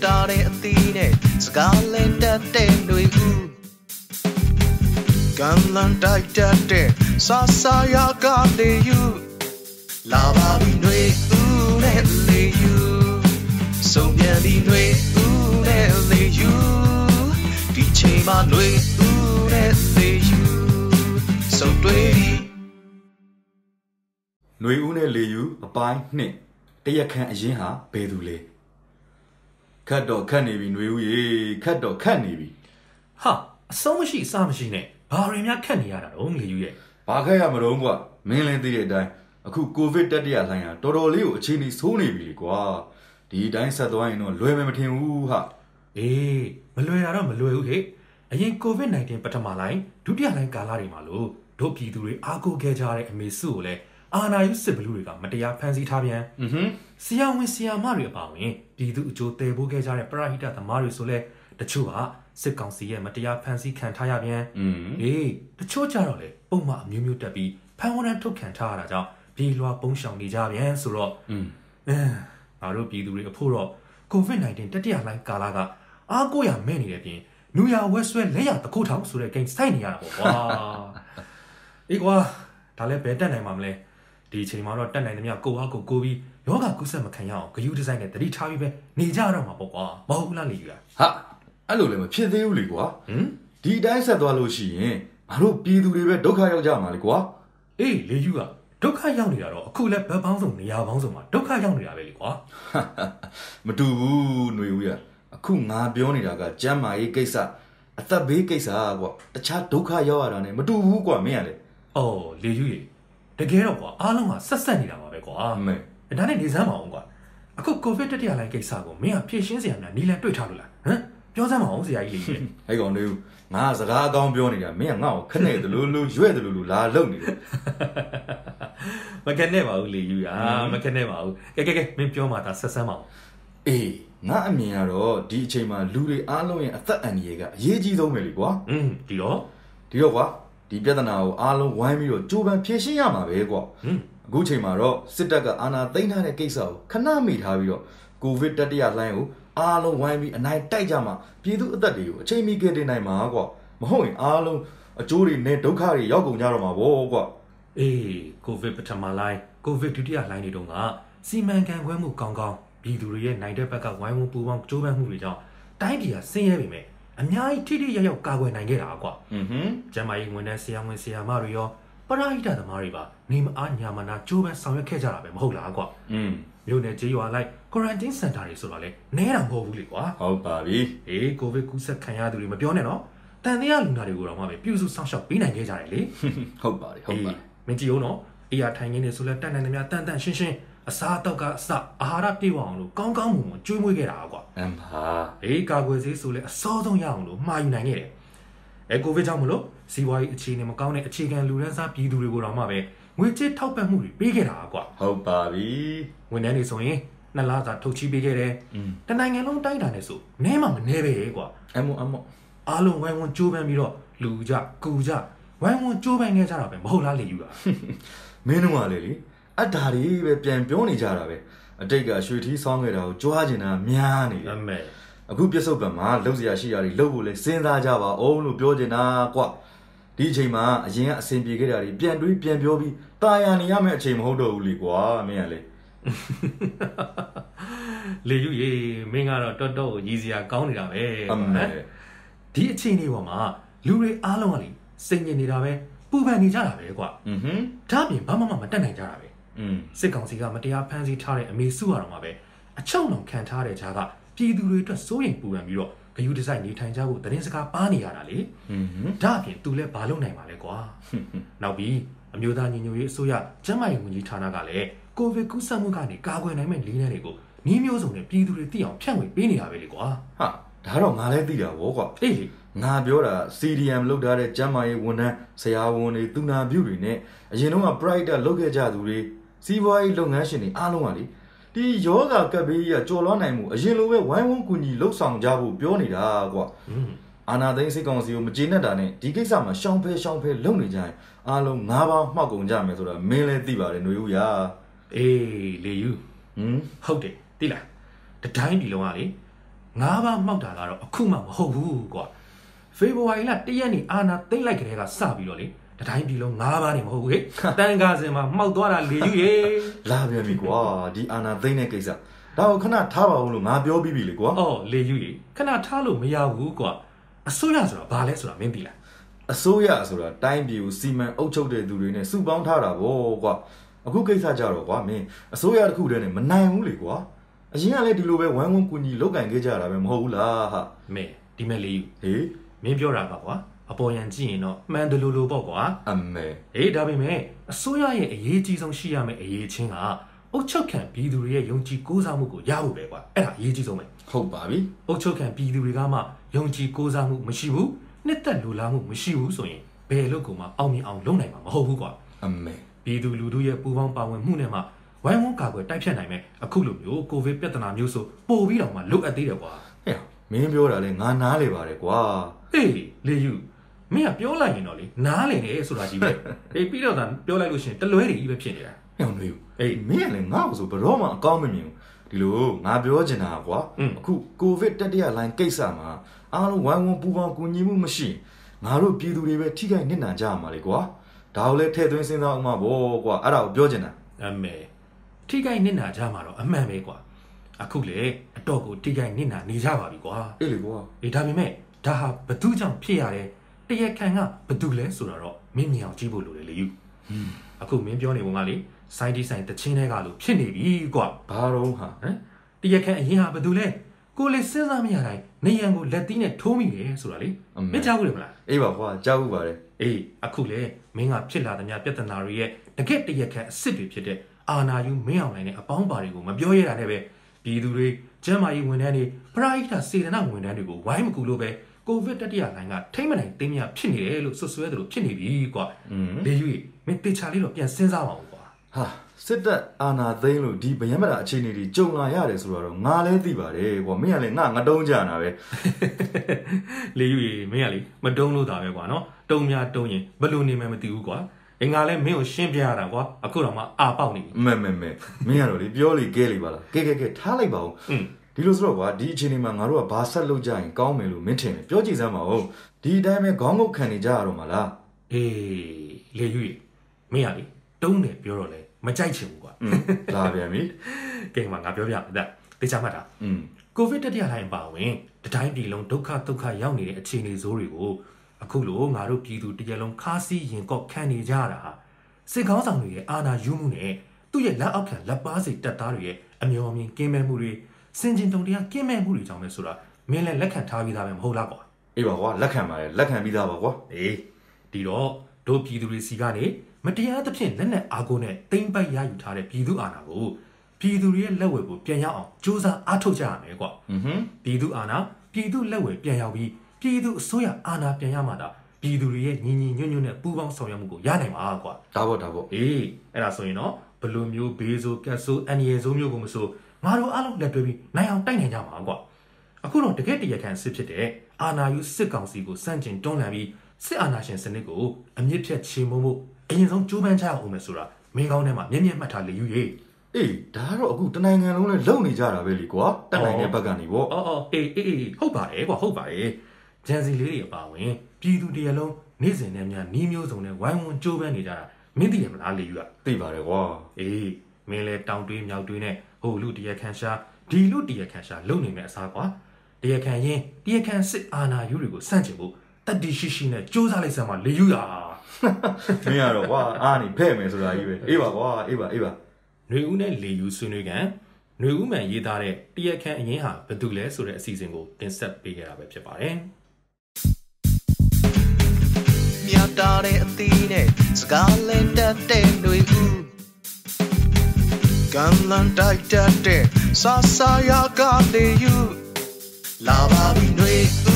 တာတဲ့အသီးနဲ့စကားလင်းတတ်တဲ့ຫນွေဦးကံလန်တိုက်တတ်တဲ့ဆာဆာယာကလေယူလာပါပြီຫນွေဦးနဲ့လေယူဆုံးပြန်ပြီຫນွေဦးနဲ့လေယူဒီချိန်မှာຫນွေဦးနဲ့လေယူဆုံးတွေ့ပြီ ຫນွေဦးနဲ့လေယူအပိုင်းနှစ်တရက်ခန့်အရင်ဟာဘယ်သူလဲခတ်တော့ခတ်နေပြီຫນွေဦးရေခတ်တော့ခတ်နေပြီ ဟာအဆုံးမရှိအစမရှိနဲ့ဘာရင်များခက်နေရတာတော့လေယူရဲ့ ဘာခတ်ရမလို့ကွာမင်းလည်းသိတဲ့အတိုင်းအခုကိုဗစ်တက်တရဆိုင်ဟာတော်တော်လေးကိုအခြေအနေဆိုးနေပြီလေကွာဒီအတိုင်းဆက်သွားရင်တော့လွယ်မယ်မထင်ဘူးဟာ အေးမလွယ်တာတော့မလွယ်ဘူးဟဲ့အရင် COVID-19 ပထမလိုင်းဒုတိယလိုင်းကာလတွေမှာလို့တို့ပြည်သူတွေအားကိုးခဲ့ကြတဲ့အမေစုကိုလည်းအာနာယုစစ်ဘလူတွေကမတရားဖမ်းဆီးထားပြန် อือဟึ ဆရာဝန်ဆရာမတွေအပါအဝင်ပြည်သူအကျိုးတည်ပိုးခဲ့ကြတဲ့ပရဟိတသမားတွေဆိုလဲတချို့ကစစ်ကောင်စီရဲ့မတရားဖမ်းဆီးခံထားရပြန် อืม အေးတချို့ကြတော့လေပုံမှန်အမျိုးမျိုးတက်ပြီးဖန်ဝရမ်းထုတ်ခံထားရတာကြောင့်ပြေလွာပုံရှောင်နေကြပြန်ဆိုတော့ อืม အင်းငါတို့ပြည်သူတွေအဖို့တော့ COVID-19 တတိယလိုင်းကာလကအားကိုးရမဲ့နေတဲ့အပြင်နူရဝက်ဆွဲလက်ရတကုတ်ထောင်ဆိုတဲ့ဂိမ်းစိုက်နေရတာပေါ့ကွာအေးကွာဒါလည်းဘယ်တက်နိုင်မှာမလဲဒီအချိန်မှာတော့တက်နိုင်သမျှကိုယ့်အားကိုယ်ကိုပြီးယောဂကုသမခံရအောင်ဂယူဒီဇိုင်းနဲ့တတိထားပြီးပဲနေကြတော့မှာပေါ့ကွာမဟုတ်ဘူးလားလေယူရ ဟာအဲ့လိုလည်းမဖြစ်သေးဘူးလေကွာ ဟင် ဒီအတိုင်းဆက်သွားလို့ရှိရင်ငါတို့ပြည်သူတွေပဲဒုက္ခရောက်ကြမှာလေကွာ အေးလေယူကဒုက္ခရောက်နေတာတော့အခုလည်းဘက်ပေါင်းစုံနေရာပေါင်းစုံမှာဒုက္ခရောက်နေတာပဲလေကွာ မတူဘူးຫນွေဦးရအခုငါပြောနေတာကကျမ်းမာရေးကိစ္စအသက်ဘေးကိစ္စကွာတခြားဒုက္ခရောက်ရတာ ਨੇ မတူဘူးကွာမင်းကလေ ။အော်လေယူရေတကယ်တော့ကွာအားလုံးကဆက်ဆက်နေတာပါပဲကွာ အမေ ။ဒါနဲ့နေစမ်းပါအောင်ကွာ။အခုကိုဗစ်တတိယလိုင်းကိစ္စကိုမင်းကဖြေရှင်းစရာများနီလန်တွေ့ထားလို့လား။ဟမ်ပြောစမ်းပါအောင်ဆရာကြီးလေယူရေ ဟဲ့ကောင်ຫນွေဦးငါကစကားအကောင်းပြောနေတာမင်းကငါ့ကိုခနဲ့တလူလူရွဲ့တလူလူလာလုံနေတယ် ။မကက်နဲ့ပါဘူးလေယူရာ ဟမ် မကက်နဲ့ပါဘူး။ကဲကဲကဲမင်းပြောမှသာဆက်စမ်းပါအောင် အေးငါအမြင်ကတော့ဒီအချိန်မှာလူတွေအားလုံးရဲ့အသက်အန္တရာယ်ကအရေးကြီးဆုံးပဲလေကွာ ။อืมဒီတော့ ဒီတော့ကွာဒီပြဿနာကိုအားလုံးဝိုင်းပြီးတော့ကြိုးပမ်းဖြေရှင်းရမှာပဲကွာ ဟမ် အခုချိန်မှာတော့စစ်တပ်ကအာဏာသိမ်းထားတဲ့ကိစ္စကိုခဏမိထားပြီးတော့ကိုဗစ်တတိယလှိုင်းကိုအားလုံးဝိုင်းပြီးအနိုင်တိုက်ကြမှာပြည်သူအသက်တွေကိုအချိန်မီကယ်တင်နိုင်မှာကွာမဟုတ်ရင်အားလုံးအကျိုးတွေနဲ့ဒုက္ခတွေရောက်ကုန်ကြတော့မှာဗောကွာ အေးကိုဗစ်ပထမလိုင်းကိုဗစ်ဒုတိယလိုင်းတွေတုန်းကစီမံခန့်ခွဲမှုကောင်းကောင်းပြည်သူတွေရဲ့နိုင်တဲ့ဘက်ကဝိုင်းဝန်းပူးပေါင်းကြိုးပမ်းမှုတွေကြောင့်တိုင်းပြည်ကဆင်းရဲပေမဲ့အများကြီးထိထိရောက်ရောက်ကာကွယ်နိုင်ခဲ့တာကွာ။ ဟွန်းဟွန်း ကျမ်းမာရေးဝန်ထမ်းဆရာဝန်ဆရာမတွေရောပရဟိတသမားတွေပါနေမအားညမနာကြိုးပမ်းဆောင်ရွက်ခဲ့ကြတာပဲမဟုတ်လားကွာ อืม မြို့နယ်ကြေးရွာလိုက် quarantine center တွေဆိုတာလဲနဲတာမဟုတ်ဘူးလေကွာ ဟုတ်ပါပြီ အေးကိုဗစ်ကူးစက်ခံရသူတွေမပြောနဲ့နော်တန်တရားလူနာတွေကိုတော့မှပဲပြုစုစောင့်ရှောက်ပေးနိုင်ခဲ့ကြတယ်လေ ဟုတ်ပါတယ်ဟုတ်ပါတယ် မင်းကြည့်ဦးနော်အေးရထိုင်ခင်းနေဆိုလဲတန်တန်တမတန်တန်ရှင်းရှင်းအစားအသောက်ကအစအာဟာရပြည့်ဝအောင်လို့ကောင်းကောင်းမွန်မွန်ကျွေးမွေးခဲ့တာကွာ အမ်ပါ အေးကာကွယ်ဆေးဆိုလဲအစောဆုံးရအောင်လို့မှာယူနိုင်ခဲ့တယ်။အဲကိုဗစ်ကြောင့်မလို့စီးပွားရေးအခြေအနေမကောင်းတဲ့အခြေခံလူရန်စားပြည်သူတွေကိုတော့မှပဲငွေကြေးထောက်ပံ့မှုတွေပေးခဲ့တာကွာ ဟုတ်ပါပြီ ။ဝန်ထမ်းတွေဆိုရင်နှစ်လစာထုတ်ချီးပေးခဲ့တယ် อืม ။တစ်နိုင်ငံလုံးတိုင်းတာနဲ့ဆိုနဲမှမနဲပဲကွာ အမောအမော ။အားလုံးဝိုင်းဝန်းကြိုးပမ်းပြီးတော့လူကြကူကြဝိုင်းဝန်းကြိုးပမ်းခဲ့ကြတာပဲမဟုတ်လားလေယူတာ မင်းတို့ကလေလေအတ္တာတွေပဲပြန်ပြောနေကြတာပဲအတိတ်ကရွှေထီးဆောင်းခဲ့တာကိုကြွားကျင်တာများနေတယ် ။အမေ အခုပြစ္ဆုတ်ပံမှာလှုပ်ရှားရှိရာတွေလှုပ်ဖို့လဲစဉ်းစားကြပါအောင်လို့ပြောချင်တာကွဒီအချိန်မှာအရင်ကအဆင်ပြေခဲ့တာတွေပြန်တွေးပြန်ပြောပြီးตายရနေရမယ့်အချိန်မဟုတ်တော့ဘူးလေကွာမင်းကလေ လေယူရေမင်းကတော့တော်တော်ကိုရည်စရာကောင်းနေတာပဲ အ ကွာ မေ နော် ဒီအခြေအနေပေါ်မှာလူတွေအားလုံးကလေစိတ်ညစ်နေတာပဲပူပန်နေကြတာပဲကွာ อือหือ ဒါပြင်ဘာမှမမတက်နိုင်ကြတာပဲ อืม စစ်ကောင်စီကမတရားဖမ်းဆီးထားတဲ့အမေစုရတော့မှာပဲအချုံအောင်ခံထားတဲ့ကြားကပြည်သူတွေအတွက်စိုးရိမ်ပူပန်ပြီးတော့ဂယုတစိုက်နေထိုင်ကြဖို့သတင်းစကားပါနေရတာလေ อือหือ ဒါပြင်သူလည်းမလုပ်နိုင်ပါလဲကွာနောက်ပြီးအမျိုးသားညီညွတ်ရေးအစိုးရကျန်းမာရေးဝန်ကြီးဌာနကလည်းကိုဗစ်ကူးစက်မှုကနေကာကွယ်နိုင်မယ့်နည်းလမ်းတွေကိုနည်းမျိုးစုံနဲ့ပြည်သူတွေသိအောင်ဖြန့်ဝေပေးနေတာပဲလေကွာ ဟာဒါတော့ငါလည်းသိတာဗောကွာ အေးလေ ငါပြောတာ CDM လောက်ထားတဲ့ကျမ်းမာရေးဝန်ထမ်းဆရာဝန်တွေသူနာပြုတွေနဲ့အရင်တော့က pride လောက်ခဲ့ကြသူတွေစီးပွားရေးလုပ်ငန်းရှင်တွေအားလုံးကလေဒီယောဂကပ်ဘေးကြီးကကြော်လွှားနိုင်မှုအရင်လိုပဲဝိုင်းဝန်းကူညီလှုပ်ဆောင်ကြဖို့ပြောနေတာကွာ အာနာသိန်းစိတ်ကောင်းစီကိုမကျေနပ်တာနဲ့ဒီကိစ္စမှာရှောင်းဖဲရှောင်းဖဲလုံနေကြရင်အားလုံး၅ပေါင်းမှောက်ကုန်ကြမယ်ဆိုတာမင်းလည်းသိပါတယ်ຫນွေဦးရာ အေးလေယူ ဟင် ဟုတ်တယ်သိလားတတိုင်းပြည်လုံးကလေ ငါးပါးမှောက်တာကတော့အခုမှမဟုတ်ဘူးကွာဖေဖော်ဝါရီလ၁ရက်နေ့အာနာသိမ့်လိုက်ကလေးကစပြီးတော့လေတတိုင်းပြည်လုံးငါးပါးနေမဟုတ်ဘူးဟဲ့တန်ကာစင်မှာမှောက်သွားတာလေယူရေ လာပြန်ပြီကွာဒီအာနာသိမ့်တဲ့ကိစ္စဒါကိုခဏထားပါဦးလို့ငါပြောပြီးပြီလေကွာ အော်လေယူရေခဏထားလို့မရဘူးကွာအစိုးရဆိုတာဘာလဲဆိုတာမင်းသိလား အစိုးရဆိုတာတိုင်းပြည်ကိုစီမံအုပ်ချုပ်တဲ့သူတွေနဲ့စုပေါင်းထားတာဗောကွာအခုကိစ္စကြတော့ကွာမင်းအစိုးရတစ်ခုတည်းနဲ့မနိုင်ဘူးလေကွာအရင်ကလည်းဒီလိုပဲဝမ်းဝန်းကူညီလုပ်ကင်ခဲ့ကြတာပဲမဟုတ်ဘူးလားဟာ မင်းဒီမဲ့လေးယူ ဟေး မင်းပြောတာပါကွာအပေါ်ရန်ကြည့်ရင်တော့မှန်တယ်လို့လို့ပေါ့ကွာ အမေ အေးဒါပေမဲ့အစိုးရရဲ့အရေးကြီးဆုံးရှိရမယ့်အရေးချင်းကအုတ်ချုပ်ခံပြည်သူတွေရဲ့ယုံကြည်ကိုးစားမှုကိုရဖို့ပဲကွာအဲ့ဒါအရေးကြီးဆုံးပဲ ဟုတ်ပါပြီ အုတ်ချုပ်ခံပြည်သူတွေကမှယုံကြည်ကိုးစားမှုမရှိဘူးနှစ်သက်လူလားမှုမရှိဘူးဆိုရင်ဘယ်လို့ကောင်မှအောင်မြင်အောင်လုပ်နိုင်မှာမဟုတ်ဘူးကွာ အမေ ပြည်သူလူထုရဲ့ပူးပေါင်းပါဝင်မှုနဲ့မှဝိုင်းဝန်းကာကွယ်တိုက်ဖြတ်နိုင်မယ်အခုလိုမျိုးကိုဗစ်ပြဿနာမျိုးဆိုပို့ပြီးတော့မှလိုအပ်သေးတယ်ကွာ ဟဲ့မင်းပြောတာလဲငါနားလေပါတယ်ကွာ ဟေးလေယူမင်းကပြောလိုက်ရင်တော့လေနားလည်နေဆိုတာကြီးပဲအေးပြီးတော့သာပြောလိုက်လို့ရှိရင်တလွဲတွေကြီးပဲဖြစ်နေတာ ဟဲ့အောင်လေး ဟေး အေးမင်းကလည်းငါ့ကိုဆိုဘယ်တော့မှအကောင်းမမြင်ဘူးဒီလိုငါပြောချင်တာကွာ อืม အခုကိုဗစ်တတိယလိုင်းကိစ္စမှာအားလုံးဝိုင်းဝန်းပူးပေါင်းကူညီမှုမရှိရင်ငါတို့ပြည်သူတွေပဲထိခိုက်နစ်နာကြရမှာလေကွာဒါကိုလည်းထည့်သွင်းစဉ်းစားအောင်ပါဘောကွာအဲ့ဒါကိုပြောချင်တာ အမေထိခိုက်နစ်နာကြမှာတော့အမှန်ပဲကွာအခုလေအတော့ကိုထိခိုက်နစ်နာနေကြပါပြီကွာ အေးလေကွာ အေးဒါပေမဲ့ဒါဟာဘသူကြောင့်ဖြစ်ရတယ်တရားခံကဘသူလဲဆိုတာတော့မင်းမြင်အောင်ကြည့်ဖို့လိုတယ်လေယူအခုမင်းပြောနေပုံကလေစိုင်းဒီဆိုင်တချင်းတွေကလို့ဖြစ်နေပြီကွာ ဘာတော့ဟာ ဟမ်တရားခံအရင်ဟာဘယ်သူလဲကိုယ်လေစဉ်းစားမရတိုင်းနေရန်ကိုလက်သီးနဲ့ထိုးမိတယ်ဆိုတာလေမင်းကြားဘူးလေမလား အေးပါကွာကြောက်ဥပါတယ် အေးအခုလေမင်းကဖြစ်လာတဲ့များပြဿနာတွေရဲ့တကယ့်တရားခံအစ်စ်တွေဖြစ်တဲ့အာနာယူမင်းအောင်လိုင်းနဲ့အပေါင်းပါတွေကိုမပြောရတာနဲ့ပဲပြည်သူတွေကျန်းမာရေးဝန်ထမ်းတွေပရိဟိတစေတနာဝန်ထမ်းတွေကိုဝိုင်းမကူလို့ပဲကိုဗစ်တတိယလိုင်းကထိမ့်မနိုင်တင်းမြဖြစ်နေတယ်လို့ဆွဆွဲသလိုဖြစ်နေပြီကွာ อืม လေယူကြီးမင်းတေချာလေးတော့ပြန်စဉ်းစားပါဦးကွာ ဟာစစ်တပ်အာဏာသိမ်းလို့ဒီဗယံမတာအခြေအနေတွေကြုံလာရတယ်ဆိုတော့ငါလည်းသိပါတယ်ကွာမင်းကလည်းငါငတုံးကြတာပဲ လေယူရေမင်းကလေမတုံးလို့တာပဲကွာနော်တုံများတုံရင်ဘယ်လိုနေမှမသိဘူးကွာအင်္ဂါလဲမင်းကိုရှင်းပြရတာကွာအခုတော့မှအာပေါက်နေပြီ မဲမဲမဲမင်းကတော့လေပြောလေကဲလေပါလားကဲကဲကဲထားလိုက်ပါဦး อืม ဒီလိုဆိုတော့ကွာဒီအခြေအနေမှာငါတို့ကဘာဆက်လုပ်ကြရင်ကောင်းမယ်လို့မင်းထင်တယ်ပြောကြည့်စမ်းပါဦးဒီအတိုင်းပဲခေါင်းငုတ်ခံနေကြရတော့မလား အေးလေယူရေမင်းကလေတုံးတယ်ပြောတော့လဲမကြိုက်ချင်ဘူးကွာ อืมလာပြန်ပြီ ကဲမှာငါပြောပြမယ်ဒါသိချမှတ်တာ อืม ကိုဗစ်တတိယလှိုင်းပါဝင်တတိုင်းပြည်လုံးဒုက္ခဒုက္ခရောက်နေတဲ့အခြေအနေဆိုးတွေကိုအခုလိုငါတို့ပြည်သူတစ်ရက်လုံးခါးစည်းရင်ကော့ခံနေကြတာဟာစစ်ကောင်းဆောင်တွေရဲ့အာဏာယူမှုနဲ့သူ့ရဲ့လက်အောက်ခံလက်ပါစီတပ်သားတွေရဲ့အမျော်အမြင်ကင်းမဲ့မှုတွေစင်ကျင်တုံတရားကင်းမဲ့မှုတွေကြောင့်ပဲဆိုတာမင်းလည်းလက်ခံထားပြီးသားပဲမဟုတ်လားကွာ အေးပါကွာလက်ခံပါတယ်လက်ခံပြီးသားပါကွာ အေးဒီတော့တို့ပြည်သူတွေစီကနေမတရားသဖြင့်လက်နက်အားကိုနဲ့တိမ့်ပိုက်ရယူထားတဲ့ပြည်သူအာဏာကိုပြည်သူတွေရဲ့လက်ဝဲကိုပြန်ရအောင်စ조사အားထုတ်ကြရမယ်ကွာ อืมဟွန်း ပြည်သူအာဏာပြည်သူလက်ဝဲပြန်ရောက်ပြီးပြည်သူအစိုးရအာဏာပြန်ရမှသာပြည်သူတွေရဲ့ညီညီညွတ်ညွတ်နဲ့ပူးပေါင်းဆောင်ရွက်မှုကိုရနိုင်မှာကွာ ဒါပေါ့ဒါပေါ့ အေးအဲ့ဒါဆိုရင်တော့ဘယ်လိုမျိုးဘေးဆိုးကတ်ဆိုးအန္တရာယ်ဆိုးမျိုးကိုမဆိုငါတို့အားလုံးလက်တွဲပြီးနိုင်အောင်တိုက်နိုင်ကြမှာကွာ အခုတော့တကယ့်တရားခံစစ်ဖြစ်တဲ့အာနာယုစစ်ကောင်စီကိုစန့်ကျင်တွန်းလှန်ပြီးစစ်အာဏာရှင်စနစ်ကိုအမြင့်ဖြတ်ချေမှုန်းမှုအရင်ဆုံးကြိုးပမ်းကြရအောင်မယ်ဆိုတာမင်းကောင်းထဲမှာမျက်မျက်မှတ်ထားလေယူရေ အေးဒါကတော့အခုတနိုင်ငံလုံးလည်းလုံနေကြတာပဲလေကွာတက်နိုင်တဲ့ဘက်ကနေပေါ့ အော်အော်အေးအေးအေးဟုတ်ပါတယ်ကွာဟုတ်ပါတယ်ဂျန်စီလေးတွေအပါအဝင်ပြည်သူတရားလုံးနေ့စဉ်နဲ့များနှီးမျိုးစုံနဲ့ဝိုင်းဝန်းကြိုးပမ်းနေကြတာမင်းသိရမလားလေယူက သိပါတယ်ကွာ အေးမင်းလည်းတောင်တွေးမြောက်တွေးနဲ့ဟိုလူတရားခံရှာဒီလူတရားခံရှာလုံနေမယ့်အစားကွာတရားခံရင်တရားခံစစ်အာဏာယုတွေကိုစန့်ကျင်ဖို့တတ်တရှိရှိနဲ့စ조사လိုက်စမ်းပါလေယူတာ မင်းကတော့ကွာအားနေဖဲ့မယ်ဆိုတာကြီးပဲအေးပါကွာအေးပါအေးပါ ຫນွေဦးနဲ့လေယူဆွေးနွေးကန်ຫນွေဦးမှန်ရေးသားတဲ့တရက်ခန့်အရင်ဟာဘယ်သူလဲဆိုတဲ့အစီအစဉ်ကိုတင်ဆက်ပေးခဲ့တာပဲဖြစ်ပါတယ် မြတ်တာတဲ့အသီးနဲ့စကားလင်းတတ်တဲ့တွေဦးကံလန်တိုက်တတ်တဲ့ဆာဆာယာကလေးယူလာပါပြီတွေ